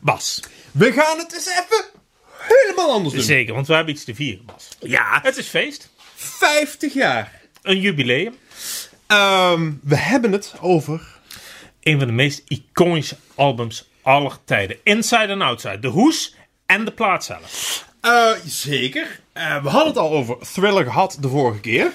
Bas. We gaan het eens even helemaal anders doen. Zeker, want we hebben iets te vieren, Bas. Ja, Het is feest. 50 jaar. Een jubileum. Ehm, we hebben het over... Een van de meest iconische albums aller tijden. Inside and Outside. De hoes en de plaat zelf. eh, zeker. Eh, we hadden het al over Thriller gehad de vorige keer.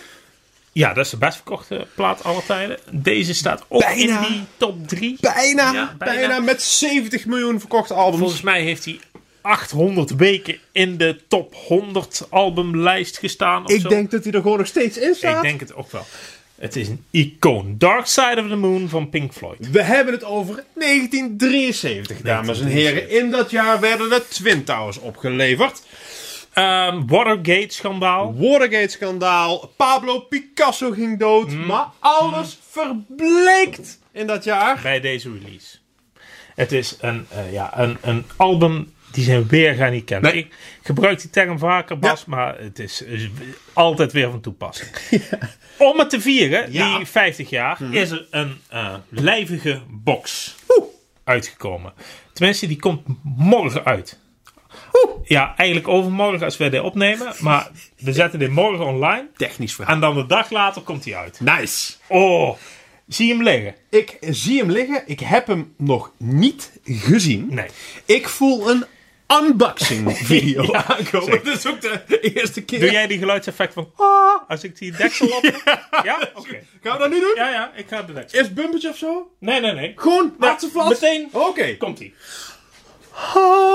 Ja, dat is de best verkochte plaat aller tijden. Deze staat ook Bijna. in die top 3. Bijna, Ja, bijna. bijna. met 70 miljoen verkochte albums. Volgens mij heeft hij 800 weken in de top 100 albumlijst gestaan. Of Ik zo. denk dat hij er gewoon nog steeds in staat. Ik denk het ook wel. Het is een icoon. Dark Side of the Moon van Pink Floyd. We hebben het over 1973, dames en heren. In dat jaar werden er Twin Towers opgeleverd. Ehm, Watergate schandaal. Watergate-schandaal. Pablo Picasso ging dood. Maar alles verbleekt in dat jaar. bij deze release. Het is een, eh, ja, een, een album die zijn weer gaan niet kennen. Nee. Ik gebruik die term vaker, Bas, maar het is eh, altijd weer van toepassing. Om het te vieren, Ja. Mhm. die 50 jaar, is er een eh, lijvige box Oeh. uitgekomen. Tenminste, die komt morgen uit. Oeh. Ja, eigenlijk overmorgen als wij dit opnemen. Maar we zetten dit morgen online. Technisch verhaal. En dan de dag later komt die uit. Nice. Oh, zie je hem liggen? Ik zie hem liggen. Ik heb hem nog niet gezien. Nee. Ik voel een unboxing video aankomen. zeker. Dat is ook de eerste keer. Doe jij die geluidseffect van... Ah, Als ik die deksel op... Ja? Oké. gaan we dat nu doen? Ja, ja, ik ga de deksel. Eerst bumpertje of zo? Nee, nee, nee. Gewoon, Ja, laatste flat. meteen. Oké. Komt-ie. Ha. Ah.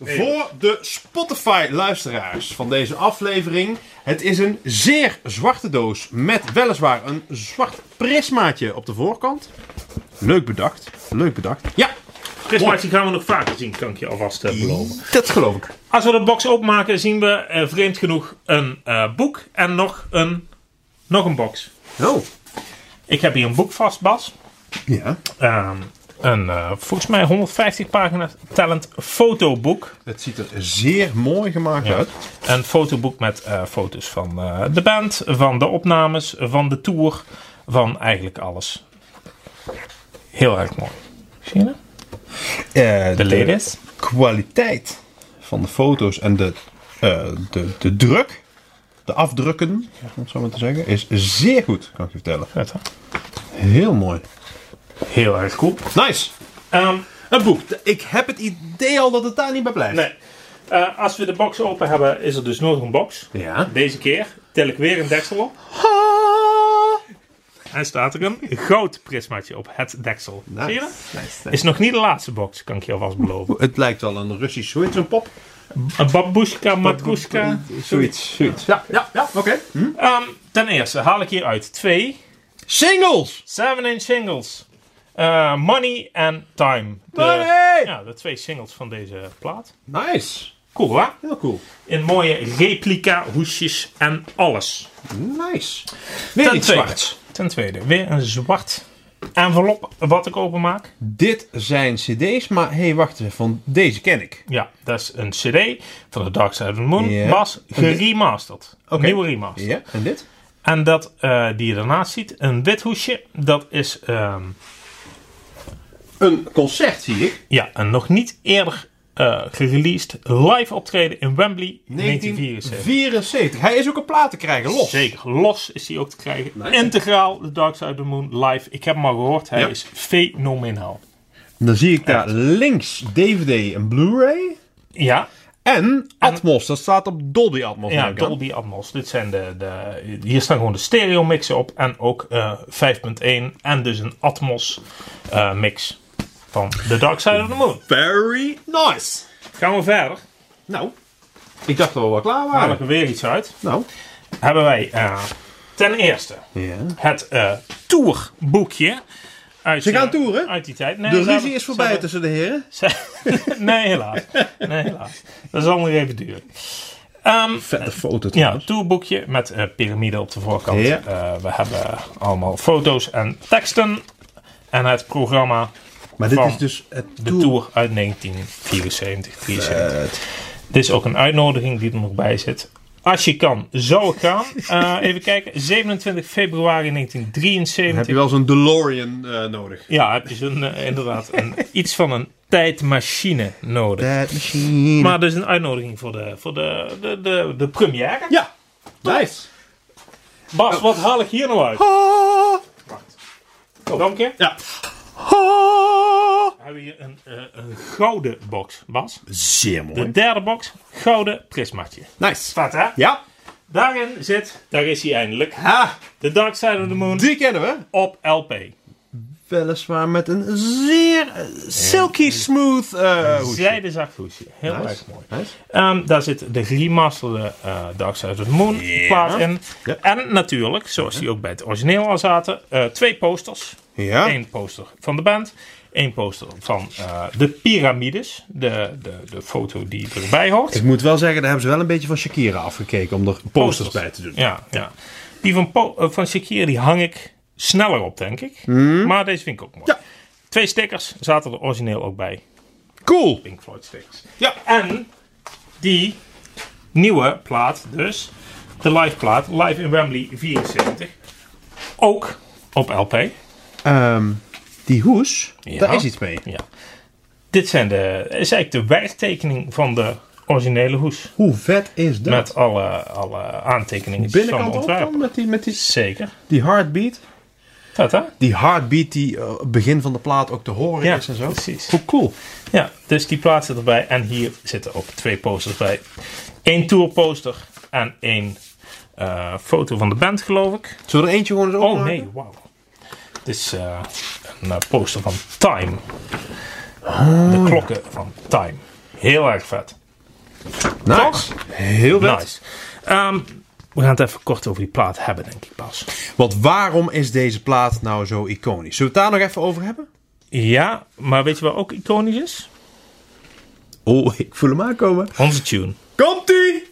Voor de Spotify-luisteraars van deze aflevering. Het is een zeer zwarte doos met weliswaar een zwart prismaatje op de voorkant. Leuk bedacht. Leuk bedacht. Ja, Prismaatje gaan we nog vaker zien, kan ik je alvast eh, beloven. dat geloof ik. Als we de box openmaken, zien we eh, vreemd genoeg een eh, boek en nog een, nog een box. Oh. Ik heb hier een boek vast, Bas. Ja. Ehm, een eh, volgens mij 150 pagina talent fotoboek. Het ziet er zeer mooi gemaakt uit. Een fotoboek met eh, foto's van eh, de band, van de opnames, van de tour, van eigenlijk alles. Heel erg mooi. Zie je dat? Eh, De ladies. kwaliteit van de foto's en de, eh, de, de druk, de afdrukken, om het zo maar te zeggen, is zeer goed, kan ik je vertellen. Vet, hè? Heel mooi. Heel erg cool. Nice. Ehm, Een boek. Ik heb het idee al dat het daar niet bij blijft. nee. Eh, als we de box open hebben, is er dus nog een box. Ja. Deze keer tel ik weer een deksel op. Ha. En staat er een goud prismaatje op het deksel. Zie je Nice. dat? Nice, nice. Is nog niet de laatste box, kan ik je alvast beloven. Het lijkt wel een Russisch zoiets, een pop. Een babushka, matkushka. Zoiets, zoiets. Ja, ja, ja, oké. Hm? Ehm, ten eerste haal ik hieruit twee Singles! 7-inch singles. Eh, money and Time. De, Money! Ja, de twee singles van deze plaat. Nice. Cool, hè? Heel cool. In mooie replica hoesjes en alles. Nice. Weer iets tweede. zwarts. Ten tweede, weer een zwart envelop wat ik openmaak. Dit zijn cd's, maar hé, hey, wacht even, van deze ken ik. Ja, dat is een cd van de Dark Side of the Moon. Ja. Was geremasterd. Oké. Nieuwe remaster. Ja, en dit? En dat eh, die je daarnaast ziet, een wit hoesje. Dat is ehm, Een concert zie ik. ja, een nog niet eerder eh gereleased live optreden in Wembley 1974. 1974. Hij is ook een plaat te krijgen, los. Zeker. Los is die ook te krijgen. Integraal, The Dark Side of the Moon, live. Ik heb hem al gehoord. Hij Ja. is fenomenaal. Dan zie ik daar links DVD en Blu-ray. Ja, En Atmos, dat staat op Dolby Atmos. ja neem ik aan. Dolby Atmos. Dit zijn de, de, hier staan gewoon de stereo mixen op. En ook eh, 5.1. En dus een Atmos eh, mix van The Dark Side of the Moon. Very nice. Gaan we verder. Nou, ik dacht dat we wel klaar Haal ik waren. er weer iets uit. Nou. Hebben wij eh, ten eerste Ja. het eh, tourboekje. Uit, Ze gaan eh, toeren? Uit die tijd. Nee, De ze ruzie hebben- is ze hebben- voorbij tussen de heren. Ze- nee, helaas. Nee, helaas. Dat zal nog even duren. Ehm, Vette foto ja, een tourboekje met eh piramide op de voorkant. Ja. Eh, we hebben allemaal foto's en teksten. En het programma Maar dit Van is dus het De Tour uit 1974. 73. Dit is ook een uitnodiging die er nog bij zit. Als je kan, zou ik gaan. Eh, even kijken, 27 februari Dan heb 1973. je wel zo'n DeLorean eh, nodig. Ja, heb je zo'n, eh, inderdaad een, iets van een tijdmachine nodig. That machine. Maar dus een uitnodiging voor de, voor de, de, de, de première. Ja, nice. Bas, wat haal ik hier nou uit? Ah, Dank je. Ja. We hebben hier een, eh, een gouden box, Bas. Zeer mooi. De derde box, gouden prismatje. Nice. Staat hè? Ja. Daarin zit, daar is hij eindelijk, Ha, The Dark Side of the Moon die kennen we. op LP. Weliswaar met een zeer eh, silky smooth eh hoesje. Zijdezacht hoesje. Heel erg mooi. Nice. Ehm, daar zit de geremasterde eh Dark Side of the Moon plaat in. Ja. En natuurlijk, zoals die ook bij het origineel al zaten, eh, twee posters. Ja. Eén poster van de band. Eén poster van eh, de piramides. De, de, de foto die erbij hoort. Dus Ik moet wel zeggen, daar hebben ze wel een beetje van Shakira afgekeken om er posters bij te doen. Ja, ja. Die van, po eh, van Shakira die hang ik sneller op, denk ik. Maar deze vind ik ook mooi. Hmm. Ja. Twee stickers zaten er origineel ook bij. Cool. Pink Floyd stickers. Ja. En die nieuwe plaat dus. De live plaat. Live in Wembley 74. Ook op LP. Ehm, die hoes, Ja. daar is iets mee. Ja. Dit zijn de, is eigenlijk de werktekening van de originele hoes. Hoe vet is dat? Met alle, alle aantekeningen van Binnenkant de op ontwerp. dan, met die, met die, Zeker. die heartbeat. Tata. Die heartbeat die eh, op het begin van de plaat ook te horen Ja, is en zo. precies. Hoe cool. Ja, dus die plaat zit erbij. En hier zitten ook twee posters bij. Eén tourposter en één eh, foto van de band, geloof ik. Zullen we er eentje gewoon eens Oh openmaken? nee, wauw. Dit is eh, een eh, poster van Time. Ah, de klokken van Time. Heel erg vet. Nice. Heel vet. Nice. Ehm, we gaan het even kort over die plaat hebben, denk ik pas. Want waarom is deze plaat nou zo iconisch? Zullen we het daar nog even over hebben? Ja, maar weet je wat ook iconisch is? Oh, ik voel hem aankomen. Onze tune. Komt-ie!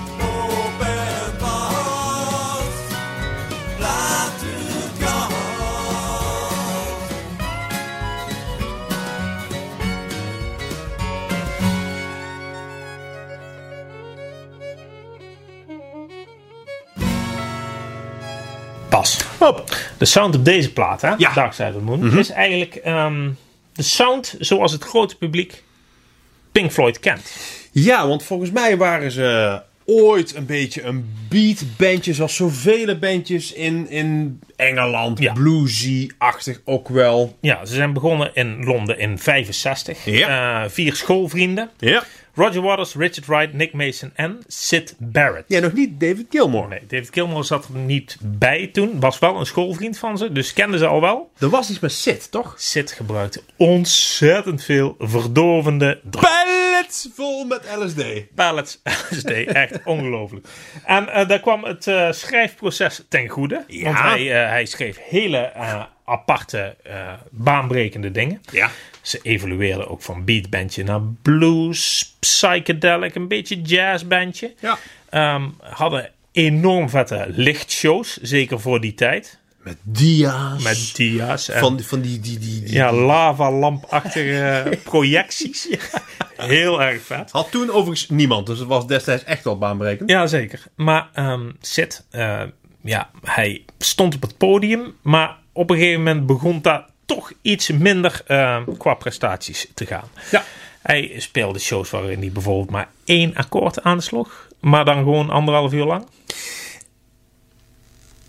Open my heart, blind to God. Pas. De sound op deze plaat, hè? Ja. Mhm. Dark Side of the Moon. Is eigenlijk ehm, de sound zoals het grote publiek Pink Floyd kent. Ja, want volgens mij waren ze ooit een beetje een beatbandje, zoals zoveel bandjes in, in Engeland. Ja. Bluesy-achtig ook wel. Ja, ze zijn begonnen in Londen in 65. Ja. Eh, vier schoolvrienden. Ja. Roger Waters, Richard Wright, Nick Mason en Sid Barrett. Ja, nog niet David Gilmore. Nee, David Gilmour zat er niet bij toen. Was wel een schoolvriend van ze, dus kenden ze al wel. Er was iets met Sid, toch? Sid gebruikte ontzettend veel verdovende Pallets vol met LSD. pallets LSD. Echt ongelooflijk. En eh, daar kwam het eh, schrijfproces ten goede. Want hij, eh, hij schreef hele eh, aparte, eh, baanbrekende dingen. Ja. Ze evolueerden ook van beatbandje naar blues, psychedelic, een beetje jazzbandje. Ja. Ehm, hadden enorm vette lichtshows, zeker voor die tijd. Met dia's. Met dia's en van, van die, die, die, die- ja, lavalampachtige projecties. Heel erg vet. Had toen overigens niemand, dus het was destijds echt al baanbrekend. Ja, zeker. Maar ehm Sid, eh, ja, hij stond op het podium, maar op een gegeven moment begon daar toch iets minder eh, qua prestaties te gaan. Ja. Hij speelde shows waarin hij bijvoorbeeld maar één akkoord aansloeg, maar dan gewoon anderhalf uur lang.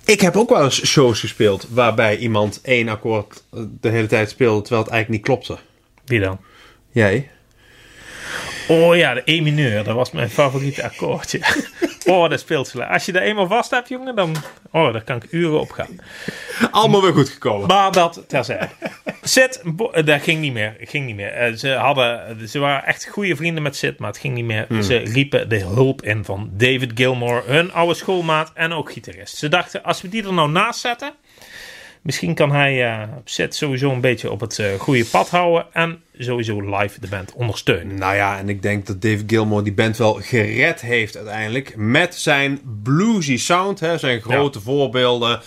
Ik heb ook wel eens shows gespeeld waarbij iemand één akkoord eh, de hele tijd speelde, terwijl het eigenlijk niet klopte. Wie dan? Jij? Oh ja, de E mineur, dat was mijn favoriete akkoordje. Oh, dat speelt ze. lekker. Als je dat eenmaal vast hebt, jongen, dan. Oh, daar kan ik uren op gaan. Allemaal weer goed gekomen. Maar dat terzijde. Sid, bo- eh, dat ging niet meer. Ging niet meer. Eh, ze, hadden, ze waren echt goede vrienden met Sid, maar het ging niet meer. Ze riepen de hulp in van David Gilmore, hun oude schoolmaat en ook gitarist. Ze dachten, als we die er nou naast zetten, misschien kan hij eh Sid sowieso een beetje op het eh, goede pad houden en sowieso live de band ondersteunen. Nou ja, en ik denk dat David Gilmour die band wel gered heeft uiteindelijk. Met zijn bluesy sound, hè, zijn grote voorbeelden.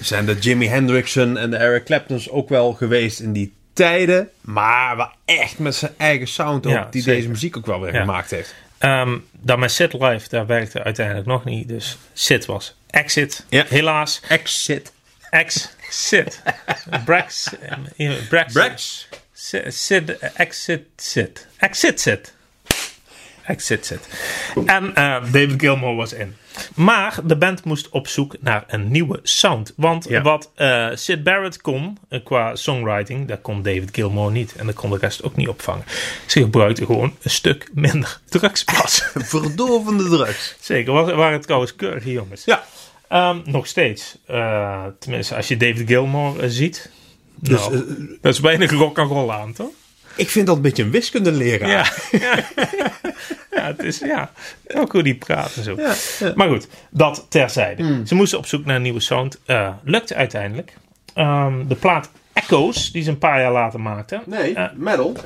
Zijn de Jimi Hendrixen en de Eric Claptons ook wel geweest in die tijden, maar wel echt met zijn eigen sound ook, Ja, die zeker. deze muziek ook wel weer Ja. gemaakt heeft. Ehm, dan met Sit Live, daar werkte uiteindelijk nog niet. Dus Sit was exit. Ja. Helaas. Exit. Exit. Brex. eh, Brexit. Brax. Si- Sid, exit, sit. Exit, sit. Exit, sit. En eh, David Gilmour was in. Maar de band moest op zoek naar een nieuwe sound. Want Ja. wat eh Sid Barrett kon eh, qua songwriting, dat kon David Gilmour niet. En dat kon de rest ook niet opvangen. Ze gebruikten gewoon een stuk minder drugspas. Verdovende drugs. Zeker, wa- waren het trouwens keurige jongens. Ja. Ehm, nog steeds. Eh, tenminste, als je David Gilmour eh, ziet. Dus, eh, dat is bijna rock and roll aan, toch? Ik vind dat een beetje een wiskundeleraar. Ja. ja. ja, het is ja. Ook hoe die praten zo. Maar goed, dat terzijde. Hmm. Ze moesten op zoek naar een nieuwe sound. Eh, lukte uiteindelijk. Ehm, de plaat Echoes, die ze een paar jaar later maakten. Nee, Eh, metal.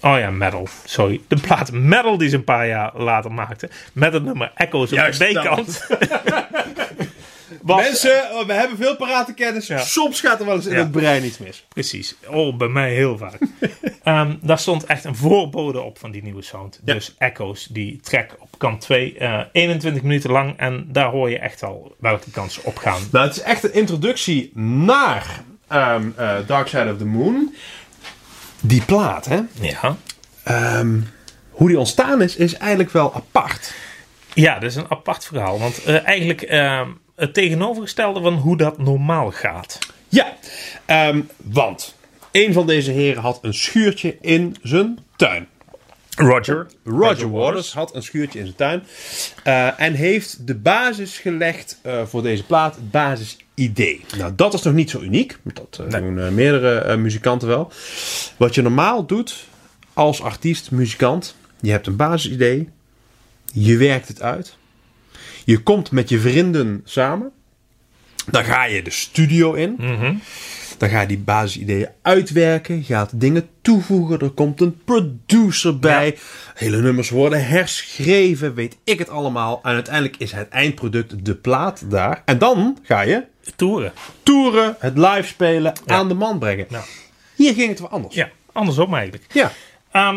oh ja, Metal. Sorry. De plaat Metal die ze een paar jaar later maakten. Met het nummer Echoes op Juist de dat. B-kant. Was- Mensen, we hebben veel parate kennis. Ja. Soms gaat er wel eens in Ja. het brein iets mis. Precies. Oh, bij mij heel vaak. Ehm, daar stond echt een voorbode op van die nieuwe sound. Dus Echoes, die track op kant 2. 21 minuten lang. En daar hoor je echt al welke kansen op gaan. Nou, het is echt een introductie naar ehm, eh, Dark Side of the Moon. Die plaat, hè? Ja. Ehm, hoe die ontstaan is, is eigenlijk wel apart. Ja, dat is een apart verhaal. Want eh, eigenlijk ehm, het tegenovergestelde van hoe dat normaal gaat. Ja, ehm, want een van deze heren had een schuurtje in zijn tuin. Roger. Roger Waters had een schuurtje in zijn tuin. eh, en heeft de basis gelegd eh, voor deze plaat, het basisidee. Nou, dat is nog niet zo uniek. want Dat eh, doen eh, meerdere eh, muzikanten wel. Wat je normaal doet als artiest, muzikant. Je hebt een basisidee. Je werkt het uit. Je komt met je vrienden samen. Dan ga je de studio in. Dan ga je die basisideeën uitwerken. Je gaat dingen toevoegen. Er komt een producer bij. Hele nummers worden herschreven. Weet ik het allemaal. En uiteindelijk is het eindproduct de plaat daar. En dan ga je Toeren. toeren, het live spelen, aan de man brengen. Ja. Hier ging het wel anders. Ja, andersom eigenlijk. Ja. Ehm,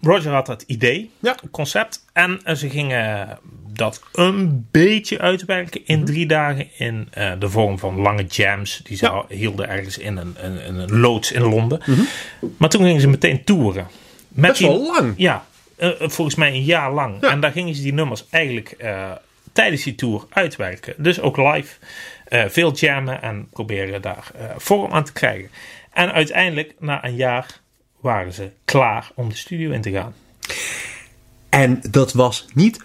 Roger had dat idee, Ja. concept. En eh, ze gingen dat een beetje uitwerken Mhm. in drie dagen. In eh, de vorm van lange jams. Die ze Ja. Mhm. al- hielden ergens in een, een, een- een loods in Londen. Maar toen gingen ze meteen toeren. Met Best wel lang. Ja, eh, eh, volgens mij een jaar lang. En daar gingen ze die nummers eigenlijk eh, tijdens die tour uitwerken. Dus ook live. eh, veel jammen en proberen daar eh, vorm aan te krijgen. En uiteindelijk, na een jaar, waren ze klaar om de studio in te gaan. En dat was niet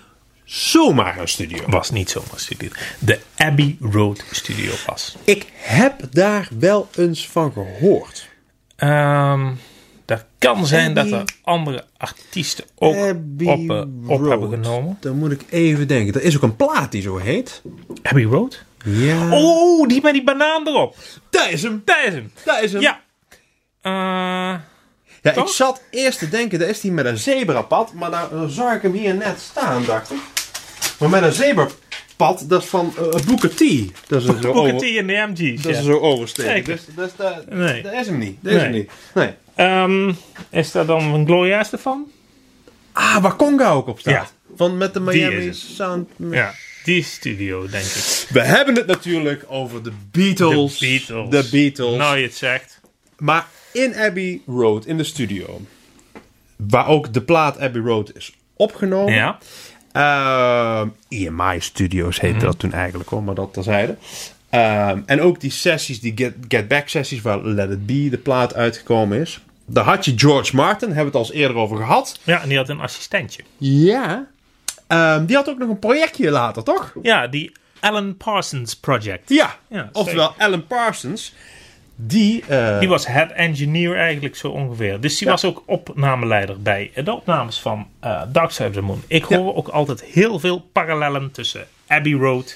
zomaar een studio. Was niet zomaar studio. De Abbey Road Studio was. Ik heb daar wel eens van gehoord. Ehm dat kan zijn dat Abbey- er andere artiesten ook Abbey op, eh, op hebben Road. genomen. Dan moet ik even denken. Er is ook een plaat die zo heet. Abbey Road? Ja. Oh, die met die banaan erop. daar is hem. Daar is hem. Daar is hem. Ja. Eh, Ja, ik Toch? zat eerst te denken, daar is hij met een zebrapad. Maar nou, dan zag ik hem hier net staan, dacht ik. Maar met een zebrapad, dat is van eh Booker T. Dat is een zo Booker over- T en de MG's. Oh, Dat ja. is zo oversteken. Zeker. Dus, dus dat, Nee. dat is hem niet. Dat is Nee. hem niet. Nee. Ehm, is daar dan een Gloria ervan? Ah, waar Conga ook op staat. Van met de is Miami het. Sound. Ja, die studio, denk ik. We hebben het natuurlijk over de Beatles. De Beatles. De Beatles. Nou, je het zegt. Maar in Abbey Road, in de studio. Waar ook de plaat Abbey Road is opgenomen. Ja. Ehm, EMI Studios heette dat toen eigenlijk hoor, maar dat terzijde. Ehm en ook die sessies, die Get, get Back sessies, waar Let It Be de plaat uitgekomen is. Daar had je George Martin, hebben we het al eens eerder over gehad. ja, en die had een assistentje. Ja. Ehm, die had ook nog een projectje later, toch? Ja, die Alan Parsons Project. Ja. Ja, Oftewel Alan Parsons. Die, eh, Die was head engineer eigenlijk zo ongeveer. Dus die was ook opnameleider bij de opnames van eh Dark Side of the Moon. Ik hoor ook altijd heel veel parallellen tussen Abbey Road,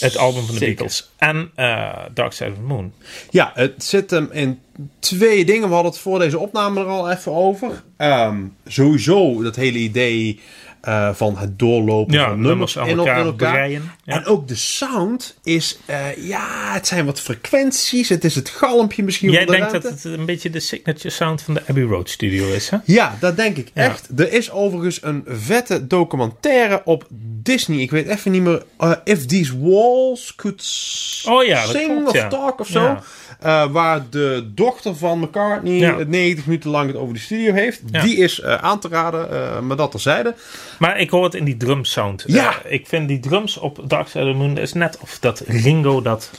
het album van de Zeker. Beatles, en eh, Dark Side of the Moon. Ja, het zit hem in twee dingen. We hadden het voor deze opname er al even over. Ehm, sowieso dat hele idee eh, van het doorlopen Ja, van nummers nummers aan in elkaar in breien, ja. En ook de sound is, eh, ja, het zijn wat frequenties. Het is het galmpje misschien Jij van de denkt dat ruimte. het een beetje de signature sound van de Abbey Road Studio is, hè? Ja, dat denk ik Ja. echt. Er is overigens een vette documentaire op Disney. Ik weet even niet meer. eh, If These Walls Could s- Oh ja, dat Sing klopt, of ja. Talk of zo. Ja. Eh, waar de dochter van McCartney Ja. het 90 minuten lang het over de studio heeft. Ja. Die is eh, aan te raden, eh, maar dat terzijde. Maar ik hoor het in die drumsound. Ja. Eh, ik vind die drums op Dark Side of the Moon het is net of dat Ringo dat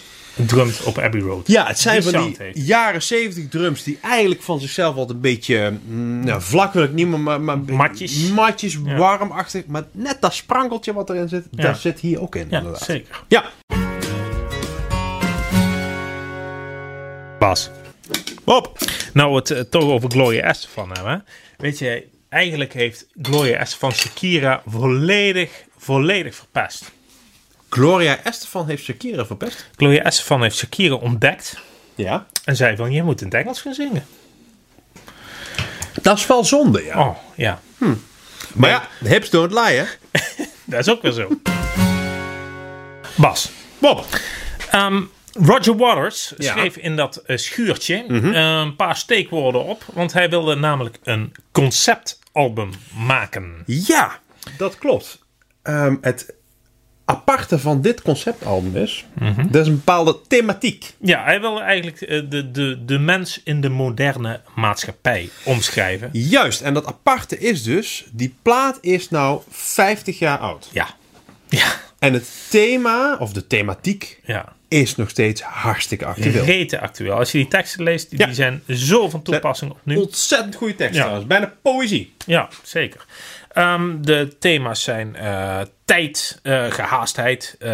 drumt op Abbey Road. Ja, het zijn Die van sound die heeft. jaren 70 drums die eigenlijk van zichzelf wat een beetje mm, nou, vlak wil ik niet meer, maar, maar Matjes. matjes Ja. warmachtig. Maar net dat sprankeltje wat erin zit, Ja. daar zit hier ook in. Ja, inderdaad. zeker. Ja, Bas. Bob. Nou, we het eh, toch over Gloria Estefan hebben. hè. Weet je, eigenlijk heeft Gloria Estefan Shakira volledig, volledig verpest. Gloria Estefan heeft Shakira verpest. Gloria Estefan heeft Shakira ontdekt Ja. en zei van, je moet in het Engels gaan zingen. Dat is wel zonde, ja. Oh, ja. Maar ja, de hips don't lie, hè? Dat is ook weer zo. Bas. Bob. Ehm, Roger Waters Ja. schreef in dat eh, schuurtje eh, een paar steekwoorden op. Want hij wilde namelijk een conceptalbum maken. Ja, dat klopt. Ehm, het aparte van dit conceptalbum is... Dat is een bepaalde thematiek. Ja, hij wilde eigenlijk eh, de, de, de mens in de moderne maatschappij omschrijven. Juist, en dat aparte is dus... Die plaat is nou 50 jaar oud. Ja. Ja. En het thema, of de thematiek... Ja. Is nog steeds hartstikke actueel. Rete actueel. Als je die teksten leest, die, Ja. die zijn zo van toepassing op nu. Ontzettend goede tekst Ja. trouwens. Bijna poëzie. Ja, zeker. Ehm, de thema's zijn eh, tijd, eh, gehaastheid, eh,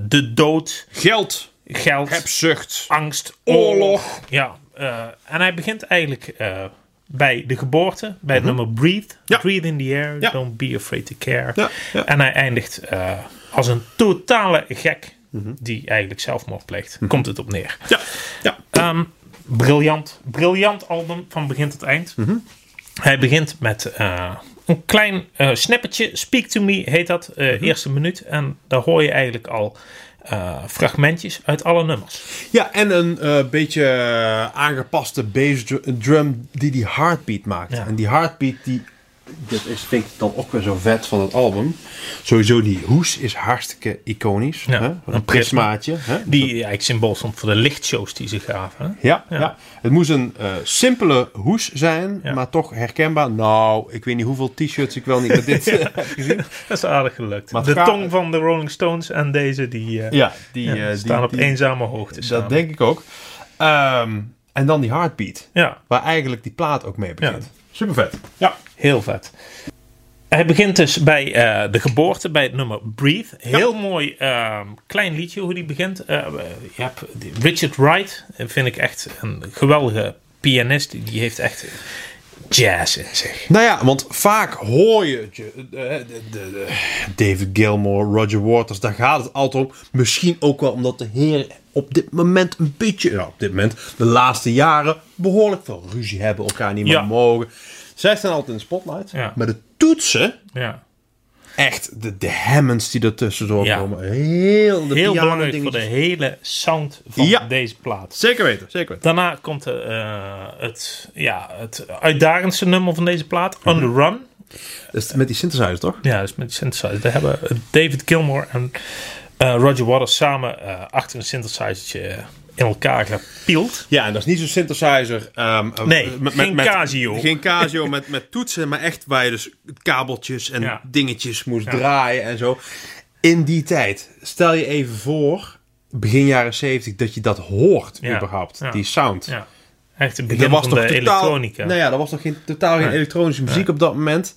de dood, Geld. geld. Hebzucht. angst, Oorlog. Ja, eh, en hij begint eigenlijk eh, bij de geboorte, bij het nummer Breathe. Mhm. Ja. Breathe in the air, Ja. don't be afraid to care. Ja, ja. En hij eindigt eh, als een totale gek Mhm. die eigenlijk zelfmoord pleegt. Komt het op neer. Ja. Ja. Ehm, briljant, briljant album van begin tot eind. Mhm. Hij begint met eh, een klein eh snappertje. Speak to me heet dat. eh, Mhm. Eerste minuut. En daar hoor je eigenlijk al eh, fragmentjes uit alle nummers. Ja, en een eh, beetje eh, aangepaste bass dru- drum die die heartbeat maakt. Ja. En die heartbeat die... Dat is, vind ik dan ook weer zo vet van het album. Sowieso die hoes is hartstikke iconisch. Ja, hè? een Een prismaatje. Hè? Die eigenlijk symbool stond voor de lichtshows die ze gaven. hè? Ja, ja. het moest een eh, simpele hoes zijn, Ja. maar toch herkenbaar. Nou, ik weet niet hoeveel t-shirts ik wel niet met dit heb gezien. Dat is aardig gelukt. Maar de ga- tong van de Rolling Stones en deze die, eh, Ja, die, ja, eh, die- staan op die- eenzame hoogte. samen. Dat denk ik ook. Ehm, en dan die heartbeat, Ja, waar eigenlijk die plaat ook mee begint. Super vet. Ja. heel vet. Hij begint dus bij eh, de geboorte, bij het nummer Breathe. Heel mooi ehm, klein liedje hoe die begint. Eh, je hebt die- Richard Wright, eh, vind ik echt een geweldige pianist. Die heeft echt jazz in zich. Nou ja, want vaak hoor je je- eh, de- de- de- David Gilmour, Roger Waters, daar gaat het altijd om. Misschien ook wel omdat de heren op dit moment een beetje, nou op dit moment, de laatste jaren behoorlijk veel ruzie hebben, elkaar niet meer Ja. mogen. Zij staan altijd in de spotlight, Ja. maar de toetsen, Ja. echt de, de Hammonds die er tussendoor Ja. komen, heel de Heel piano belangrijk voor de dingetjes. hele sound van Ja. deze plaat. Zeker weten, zeker weten. Daarna komt eh, eh, het, ja, het uitdagendste nummer van deze plaat, Mhm. On the Run. Dat is met die synthesizer toch? Ja, dus met die synthesizer. Daar hebben David Gilmore en eh, Roger Waters samen eh, achter een synthesizertje in elkaar gepield. Ja, en dat is niet zo'n synthesizer. ehm, eh, Nee, geen Casio. Geen Casio met, met toetsen, maar echt waar je dus kabeltjes en Ja. dingetjes moest draaien en zo. In die tijd, stel je even voor, begin jaren 70 dat je dat hoort Ja, überhaupt. ja. Die sound. Ja, echt het Er begin was van toch de totaal, elektronica. Nou ja, er was toch geen, totaal geen Nee. elektronische muziek op dat moment.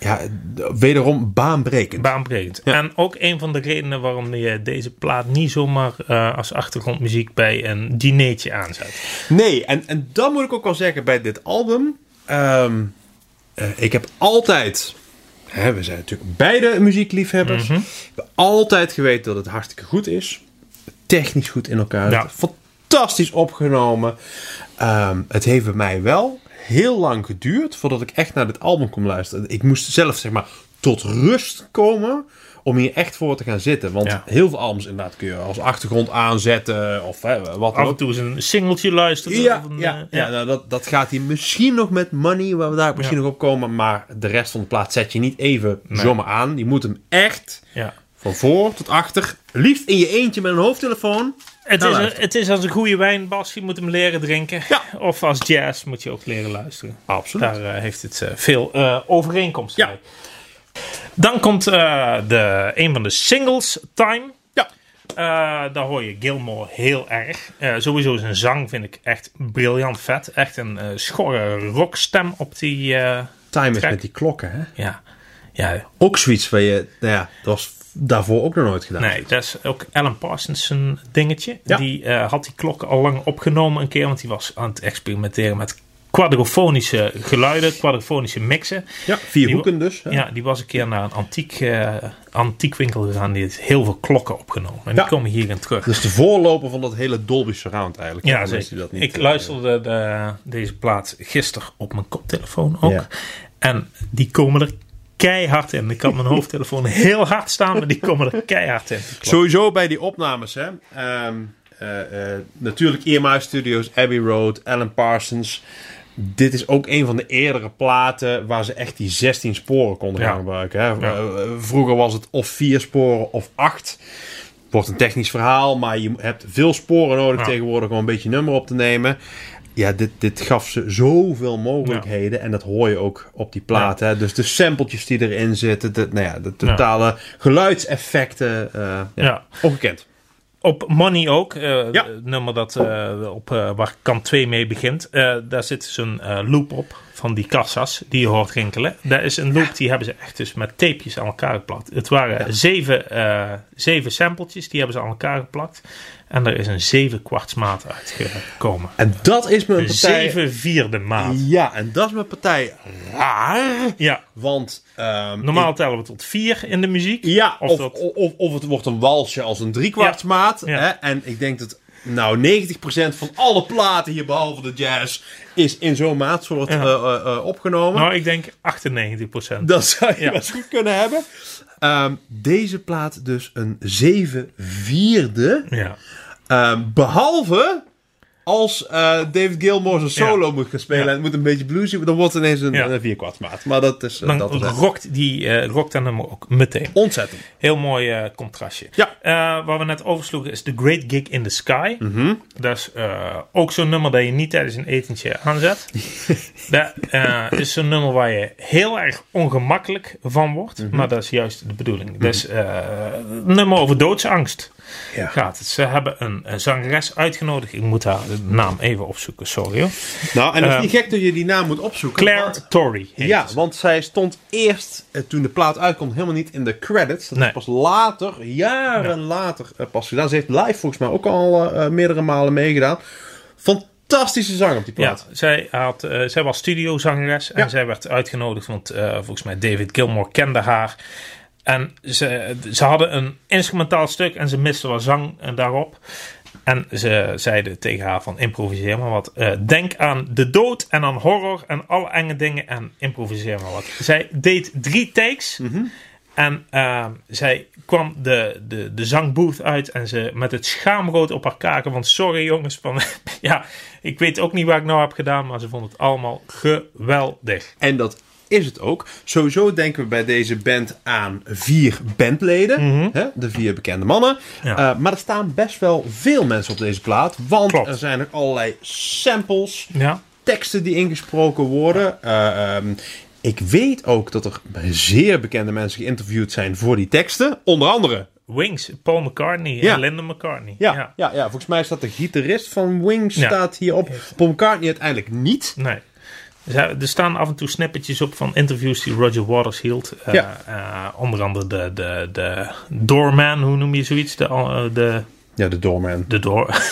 Ja, d- wederom baanbrekend. Baanbrekend. En ook een van de redenen waarom je deze plaat niet zomaar eh, als achtergrondmuziek bij een dinertje aanzet. Nee, en, en dat moet ik ook wel zeggen bij dit album. Ehm, eh, ik heb altijd. Hè, we zijn natuurlijk beide muziekliefhebbers. Mhm. Ik heb altijd geweten dat het hartstikke goed is. Technisch goed in elkaar. Ja. Fantastisch opgenomen. Ehm, het heeft bij mij wel heel lang geduurd voordat ik echt naar dit album kon luisteren. Ik moest zelf zeg maar tot rust komen om hier echt voor te gaan zitten. Want Ja. heel veel albums inderdaad kun je als achtergrond aanzetten of hè, wat dan Af en ook. toe eens een singeltje luisteren. Ja, of een, eh, ja, ja nou, dat, dat gaat hij misschien nog met Money, waar we daar misschien Ja. nog op komen. Maar de rest van de plaat zet je niet even zomaar aan. Je moet hem echt ja. van voor tot achter, liefst in je eentje met een hoofdtelefoon. Het, Nou, is, een- luister. het is als een goede wijn, Bas. Je moet hem leren drinken. Ja. Of als jazz moet je ook leren luisteren. Absoluut. Daar eh, heeft het eh, veel eh overeenkomsten Ja. mee. Dan komt eh, de, een van de singles, Time. Ja. Eh, daar hoor je Gilmore heel erg. Eh, sowieso zijn zang vind ik echt briljant vet. Echt een eh, schorre rockstem op die... eh, Time is Kijk. met die klokken, hè? ja. ja, Ook zoiets waar je, nou ja, dat was daarvoor ook nog nooit gedaan. Nee, dat is ook Alan Parsons een dingetje. Ja. Die eh, had die klok al lang opgenomen een keer, want die was aan het experimenteren met quadrofonische geluiden, quadrofonische mixen. Ja, vier Die- hoeken dus. hè? Ja. die was een keer naar een antiek, eh, antiek winkel gegaan. Die heeft heel veel klokken opgenomen. En Ja. die komen hierin terug. Dus de voorloper van dat hele Dolby Surround eigenlijk. Ja, Voor mensen zeker. die dat niet, ik eh, luisterde de- deze plaat gisteren op mijn koptelefoon ook. Ja. En die komen er keihard in. Ik had mijn hoofdtelefoon heel hard staan, maar die komen er keihard in. Die klokken. Sowieso bij die opnames, hè. Ehm, eh, eh, natuurlijk EMI Studios, Abbey Road, Alan Parsons. Dit is ook een van de eerdere platen waar ze echt die 16 sporen konden Ja. gaan gebruiken. Hè. Eh, eh, Vroeger was het of vier sporen of acht. Wordt een technisch verhaal, maar je hebt veel sporen nodig Ja. tegenwoordig om een beetje nummer op te nemen. Ja, dit, dit gaf ze zoveel mogelijkheden en dat hoor je ook op die platen. hè. Dus de sampletjes die erin zitten, de, nou ja, de totale geluidseffecten. eh, ja. Ja. Ongekend. Op Money ook, eh, Ja. het nummer dat, eh, op, eh, waar kant 2 mee begint. Eh, daar zit zo'n eh, loop op van die kassas die je hoort rinkelen. Daar is een loop, die hebben ze echt dus met tapejes aan elkaar geplakt. Het waren zeven, eh zeven sampletjes, die hebben ze aan elkaar geplakt. En er is een zeven kwarts maat uitgekomen. En dat is mijn Een partij. zeven vierde maat. Ja, en dat is mijn partij raar. Ja, Want. ehm, normaal ik- tellen we tot vier in de muziek. ja, of of, dat- of, of het wordt een walsje als een driekwartsmaat. Ja. Hè? En ik denk dat. Nou, 90% van alle platen hier, behalve de jazz, is in zo'n maatsoort Ja. eh, eh, eh, opgenomen. Nou, ik denk 98 procent. Dat zou je Ja. best goed kunnen hebben. Ehm, deze plaat dus een 7 vierde. Ja. Ehm, behalve als eh, David Gilmour zijn Ja. solo moet gaan spelen Ja. en het moet een beetje bluesy, dan wordt het ineens een, Ja. een vierkwartsmaat. Maar dat is, eh, Dan dat is echt rokt, die, eh rokt dat nummer ook meteen. ontzettend. Heel mooi eh, contrastje. Ja. Eh, wat we net oversloegen is The Great Gig in the Sky. Mhm. Dat is eh, ook zo'n nummer dat je niet tijdens een etentje aanzet. dat eh, is zo'n nummer waar je heel erg ongemakkelijk van wordt. Mhm. Maar dat is juist de bedoeling. Dat is eh, een nummer over doodsangst. Ja. Gaat. het. Ze hebben een, een zangeres uitgenodigd. Ik moet haar de naam even opzoeken, sorry hoor. Nou, en het is Ehm, niet gek dat je die naam moet opzoeken. Claire want- Torrey. heet ja, ze. want zij stond eerst, eh, toen de plaat uitkomt, helemaal niet in de credits. Dat Nee. is pas later, jaren later eh, pas gedaan. Ze heeft live volgens mij ook al eh, eh, meerdere malen meegedaan. Fantastische zang op die Ja, plaat. zij, had, eh, zij was studiozangeres en Ja. zij werd uitgenodigd, want eh, volgens mij David Gilmore kende haar. En ze, ze hadden een instrumentaal stuk en ze miste wat zang eh, daarop. En ze zeiden tegen haar van improviseer maar wat. Eh, denk aan de dood en aan horror en alle enge dingen en improviseer maar wat. Zij deed drie takes. En eh, zij kwam de, de, de zangbooth uit en ze met het schaamrood op haar kaken. Want sorry jongens, van, ja, ik weet ook niet wat ik nou heb gedaan, maar ze vond het allemaal geweldig. En dat is het ook. Sowieso denken we bij deze band aan vier bandleden. hè, de vier bekende mannen. Mhm. Ja. Eh, maar er staan best wel veel mensen op deze plaat. Want Klopt. er zijn ook allerlei samples, Ja, teksten die ingesproken worden. Eh, ehm, ik weet ook dat er zeer bekende mensen geïnterviewd zijn voor die teksten. Onder andere. Wings, Paul McCartney Ja. en Linda McCartney. Ja, ja. Ja, volgens mij staat de gitarist van Wings Ja. staat hierop. Paul McCartney uiteindelijk niet. Nee. Ze- Er staan af en toe snippetjes op van interviews die Roger Waters hield. Eh, Ja. eh, onder andere de, de, de doorman, hoe noem je zoiets? De, eh, de, Ja, de doorman. de door...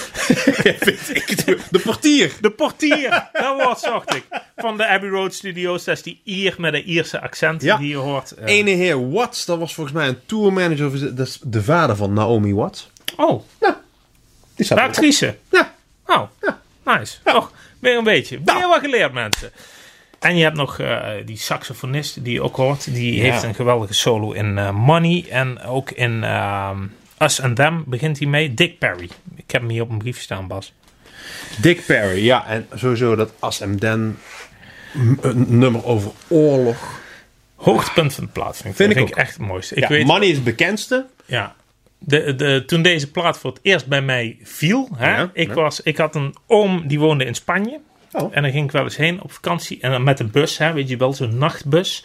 De portier. De portier, dat woord zocht ik. Van de Abbey Road Studios, dat is die Ier met een Ierse accent Ja. die je hoort. Eh, ene heer Watts, dat was volgens mij een tourmanager. of is het- Dat is de vader van Naomi Watts. Oh, Die de staat erop. actrice. Ja. Nou. Oh, nice. Och, weer een beetje. Weer wat geleerd, mensen. En je hebt nog eh, die saxofonist die je ook hoort. Die Ja. heeft een geweldige solo in eh, Money. En ook in ehm, Us and Them begint hij mee. Dick Perry. Ik heb hem hier op een brief staan, Bas. Dick Perry, ja. En sowieso dat As en Den m- een nummer over oorlog. Hoogtepunt van de plaat vind ik. Vind Dat ik vind ik echt het mooiste. Ik Ja, weet, Money is het bekendste. ja. De, de, toen deze plaat voor het eerst bij mij viel. Hè, Ja, ik, ja. Was, ik had een oom die woonde in Spanje. Oh. En daar ging ik wel eens heen op vakantie. En dan met een bus, hè, weet je wel, zo'n nachtbus.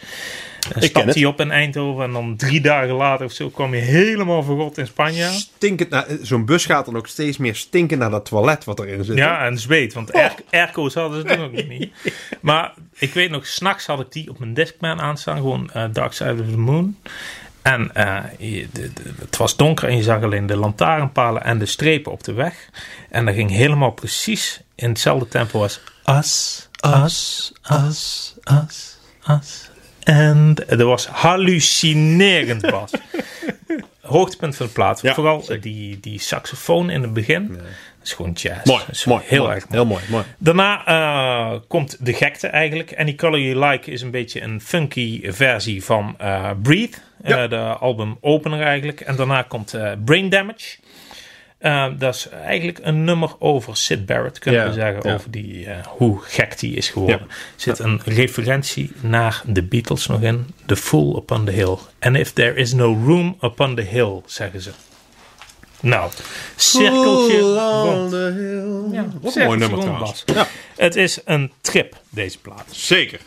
Dan ken stapte het. hij op in Eindhoven. En dan drie dagen later of zo kwam je helemaal verrot in Spanje. Stinkend naar- eh, Zo'n bus gaat dan ook steeds meer stinken naar dat toilet wat erin zit. Ja, en zweet, want air, airco's hadden ze toen ook nog niet. Maar ik weet nog, s'nachts had ik die op mijn Discman aanstaan, gewoon eh, Dark Side of the Moon. En eh, je- de- de- het was donker en je zag alleen de lantaarnpalen en de strepen op de weg. En dat ging helemaal precies in hetzelfde tempo als as, as, as, as, as. En dat was hallucinerend, Bas. Hoogtepunt van de plaat. Ja, Vooral die, die saxofoon in het begin. Dat is gewoon jazz. Mooi, Dat is mooi. Heel mooi, erg mooi. Heel mooi, mooi. Daarna eh, komt de gekte eigenlijk. En die Color You Like is een beetje een funky versie van eh, Breathe. Ja. eh, de album opener eigenlijk. En daarna komt eh, Brain Damage. Eh, dat is eigenlijk een nummer over Sid Barrett, kunnen Ja, we zeggen. ja. Over die, eh, hoe gek die is geworden. Er zit een referentie naar de Beatles nog in. The Fool Upon the Hill. And if there is no room upon the hill, zeggen ze. Nou, cirkeltje rond. Ja, Wat een cirkeltje mooi nummer rond, trouwens. Bas. Ja. Het is een trip, deze plaat. Zeker.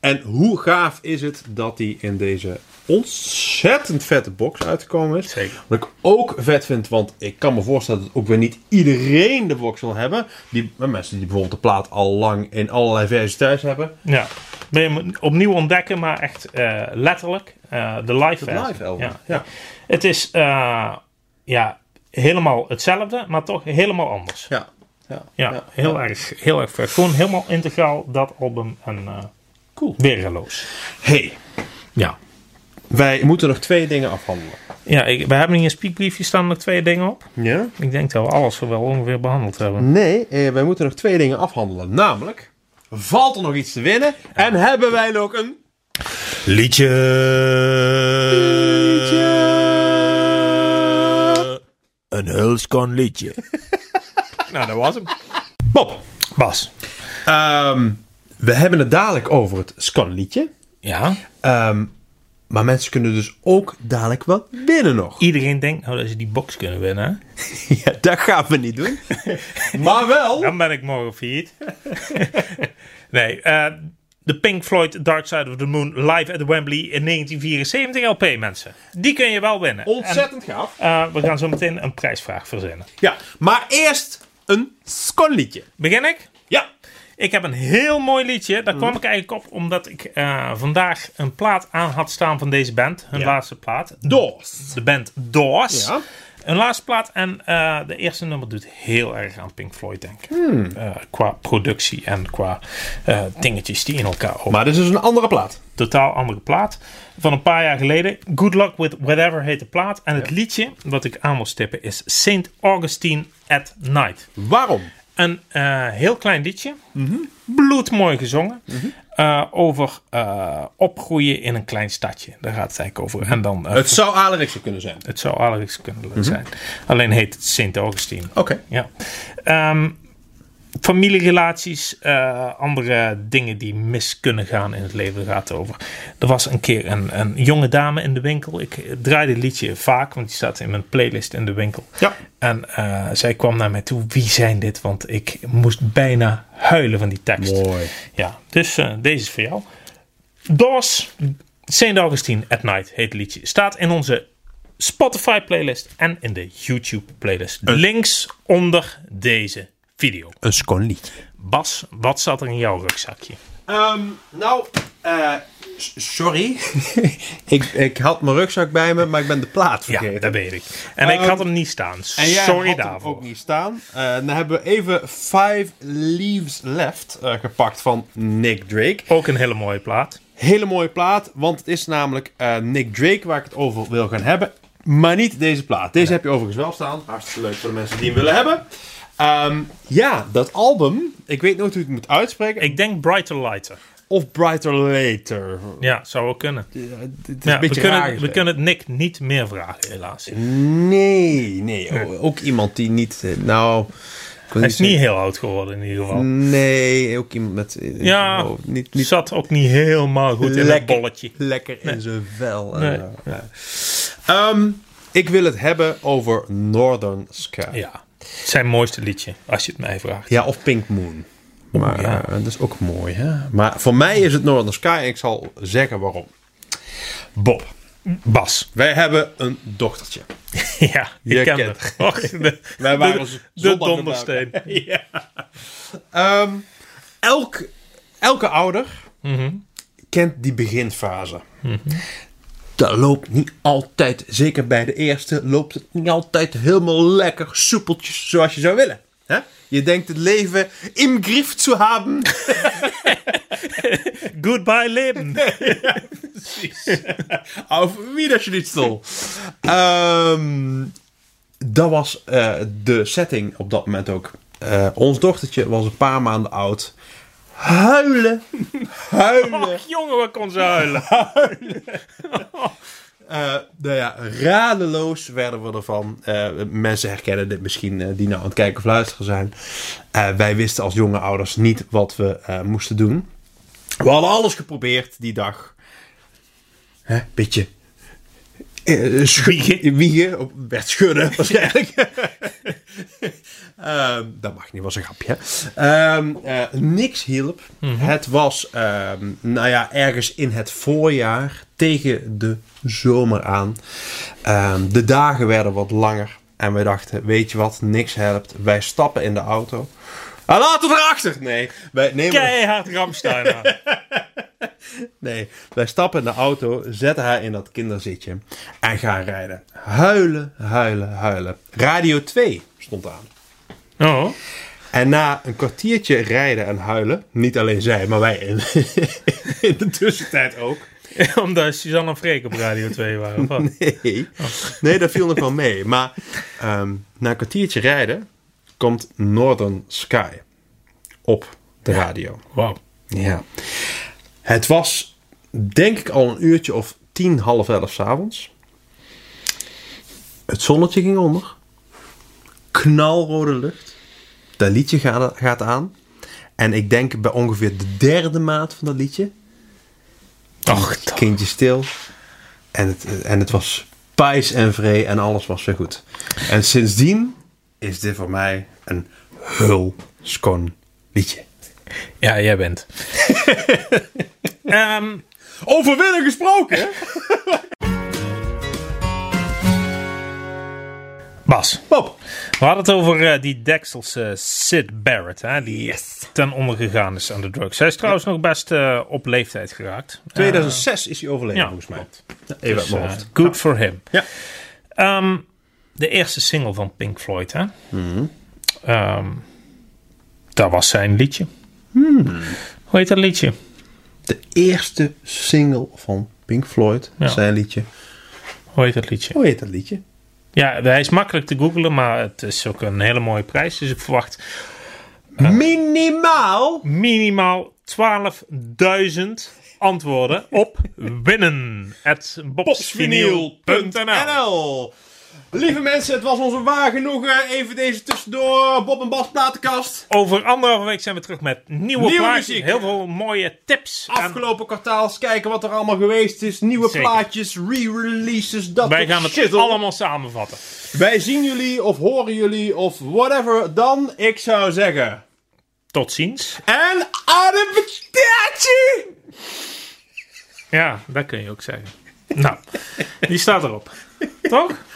En hoe gaaf is het dat die in deze ontzettend vette box uitgekomen is. Zeker. Wat ik ook vet vind, want ik kan me voorstellen dat ook weer niet iedereen de box wil hebben. Die, maar mensen die bijvoorbeeld de plaat al lang in allerlei versies thuis hebben. Ja. Ben je hem opnieuw ontdekken, maar echt eh, letterlijk. eh, de live versie. live album, Ja. ja. Het is eh, ja, helemaal hetzelfde, maar toch helemaal anders. Ja. Ja. Ja, Ja. heel, Erg, heel erg vet. Gewoon helemaal integraal dat album en eh, Cool. weergeloos. Hey, Ja. wij moeten nog twee dingen afhandelen. Ja, ik, we hebben hier een speakbriefje staan nog twee dingen op. Ja? Ik denk dat we alles wel ongeveer behandeld hebben. Nee, eh, wij moeten nog twee dingen afhandelen. Namelijk, valt er nog iets te winnen? En hebben wij nog een Liedje. Een hulskon liedje. Nou, dat was hem. Bob, Bas. ehm, we hebben het dadelijk over het scanliedje. Ja? Ehm, maar mensen kunnen dus ook dadelijk wat winnen nog. Iedereen denkt nou dat ze die box kunnen winnen. hè? Ja, dat gaan we niet doen. maar wel. Dan ben ik morgen failliet. nee, eh, de Pink Floyd Dark Side of the Moon live at the Wembley in 1974 LP, mensen. Die kun je wel winnen. Ontzettend gaaf. En, eh, we gaan zo meteen een prijsvraag verzinnen. Ja, maar eerst een scanliedje. Begin ik? Ja. Ik heb een heel mooi liedje. Daar Mhm. kwam ik eigenlijk op omdat ik eh, vandaag een plaat aan had staan van deze band. Hun Ja. laatste plaat. Doors. De band Doors. Ja. Een laatste plaat en eh, de eerste nummer doet heel erg aan Pink Floyd denken. Eh, qua productie en qua eh, dingetjes die in elkaar over. Maar dit is dus een andere plaat. Totaal andere plaat. Van een paar jaar geleden. Good Luck With Whatever heet de plaat. En het liedje wat ik aan wil stippen is St. Augustine at Night. Waarom? Een eh, heel klein liedje. Bloedmooi gezongen. Eh, over eh, opgroeien in een klein stadje. Daar gaat het eigenlijk over. En dan eh, Het zou Alerikse kunnen zijn. het zou Alex kunnen zijn. Alleen heet het Sint Augustine. Mhm. Oké. Ja. Ehm, familierelaties, eh, andere dingen die mis kunnen gaan in het leven gaat het over. Er was een keer een, een jonge dame in de winkel. Ik eh, draai dit liedje vaak, want die staat in mijn playlist in de winkel. Ja. En eh, zij kwam naar mij toe. Wie zijn dit? Want ik moest bijna huilen van die tekst. Mooi. Ja, dus eh, deze is voor jou. Doors, St. Augustine at Night heet het liedje. Staat in onze Spotify playlist en in de YouTube playlist. Eh. Links onder deze video. Een scanliedje. Bas, wat zat er in jouw rugzakje? Ehm, nou, eh, s- sorry. ik, ik had mijn rugzak bij me, maar ik ben de plaat Ja, vergeten. dat weet ik. En ik Ehm, had hem niet staan. En jij Sorry had hem daarvoor. ook niet staan. Eh, dan hebben we even Five Leaves Left eh, gepakt van Nick Drake. Ook een hele mooie plaat. Hele mooie plaat, want het is namelijk eh, Nick Drake waar ik het over wil gaan hebben. Maar niet deze plaat. Deze heb je overigens wel staan. Hartstikke leuk voor de mensen die hem willen hebben. Ehm, ja, dat album. Ik weet nooit hoe ik het moet uitspreken. Ik denk Brighter Lighter. Of Brighter Later. Ja, zou wel kunnen. Ja, het is Ja, een we, beetje kunnen raar we gezegd. kunnen het Nick niet meer vragen, helaas. Hij Nee, nee. o- Ook iemand die niet... eh, Nou... ik wil is niet zeggen- heel oud geworden in ieder geval. Nee, ook iemand met... eh, Ja, oh, niet, Die niet zat ook niet helemaal goed in het Lekker. bolletje. lekker in zijn vel. eh, Nee. ja. Ehm, ik wil het hebben over Northern Sky. Ja, zijn mooiste liedje, als je het mij vraagt. Ja, of Pink Moon. Maar ja. eh, dat is ook mooi, hè? Maar voor mij is het Northern Sky en ik zal zeggen waarom. Bob, Bas. wij hebben een dochtertje. Ja, je, Je kent kent het. Och, de, Wij waren de, de zondag dondersteen. Ehm, elk, elke ouder kent die beginfase. Dat loopt niet altijd, zeker bij de eerste, loopt het niet altijd helemaal lekker soepeltjes zoals je zou willen. hè? Je denkt het leven im griff te hebben. Goodbye Leben. Auf Wiederschnitzel. Ehm dat was eh, de setting op dat moment ook. Eh, ons dochtertje was een paar maanden oud. Huilen. Huilen. Och, jongen, we kon ze huilen. Eh, nou ja, radeloos werden we ervan. Eh, mensen herkennen dit misschien eh, die nou aan het kijken of luisteren zijn. Eh, wij wisten als jonge ouders niet wat we eh, moesten doen. We hadden alles geprobeerd die dag. Hè, beetje. eh, schu- Wiegen. Wiegen. Op werd schudden waarschijnlijk. Ehm, dat mag niet, was een grapje. hè. Ehm, eh, niks hielp. Het was, ehm, nou ja, ergens in het voorjaar tegen de zomer aan. Ehm, de dagen werden wat langer. En wij dachten, weet je wat, niks helpt. Wij stappen in de auto. Ah, laten we erachter! Nee, wij nemen... Keihard Ramstein aan. Nee, wij stappen in de auto, zetten haar in dat kinderzitje en gaan rijden. Huilen, huilen, huilen. Radio 2 stond aan. Oh, En na een kwartiertje rijden en huilen, niet alleen zij, maar wij in, in de tussentijd ook. omdat Suzanne en Freek op Radio 2 waren. of wat? Nee, nee dat viel nog wel mee. Maar ehm, na een kwartiertje rijden komt Northern Sky op de radio. Wauw. Ja. Het was denk ik al een uurtje of tien, half elf s'avonds. Het zonnetje ging onder. Knalrode lucht. Dat liedje gaat, gaat aan. En ik denk bij ongeveer de derde maat van dat liedje. Och, Het kindje stil. En het, en het was pijs en vree en alles was weer goed. En sindsdien is dit voor mij een hulskon liedje. Ja, jij bent. Ehm, Over willen gesproken! hè? Bas, Bob. we hadden het over eh, die Dekselse Sid Barrett. Hè, die ten onder gegaan is aan de drugs. Hij is trouwens nog best eh, op leeftijd geraakt. 2006 is hij overleden, ja, volgens mij. Even uit Dus, mijn eh, hoofd. good for him. Ja. Ehm, de eerste single van Pink Floyd, hè? Hmm. Ehm, dat was zijn liedje. Hmm. Hoe heet dat liedje? De eerste single van Pink Floyd, Ja. zijn liedje. Hoe heet dat liedje? Hoe heet dat liedje? Ja, hij is makkelijk te googlen, maar het is ook een hele mooie prijs. Dus ik verwacht Minimaal! minimaal 12.000 antwoorden op winnen. At bobsvinyl.nl. Bobsvinyl.nl Lieve mensen, het was onze waar genoegen. Even deze tussendoor. Bob en Bas platenkast. Over anderhalve week zijn we terug met nieuwe, Nieuwe plaatjes. muziek. Heel veel mooie tips. en- Afgelopen kwartaals kijken wat er allemaal geweest is. Nieuwe Zeker. plaatjes, re-releases, dat Wij soort gaan het shizzle. allemaal samenvatten. Wij zien jullie of horen jullie of whatever dan. Ik zou zeggen... Tot ziens. En arrivederci! Ja, dat kun je ook zeggen. Nou, die staat erop. Toch?